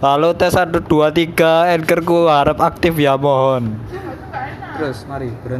Halo tes 1 2 3 Anchorku harap aktif ya mohon Terus mari berhenti.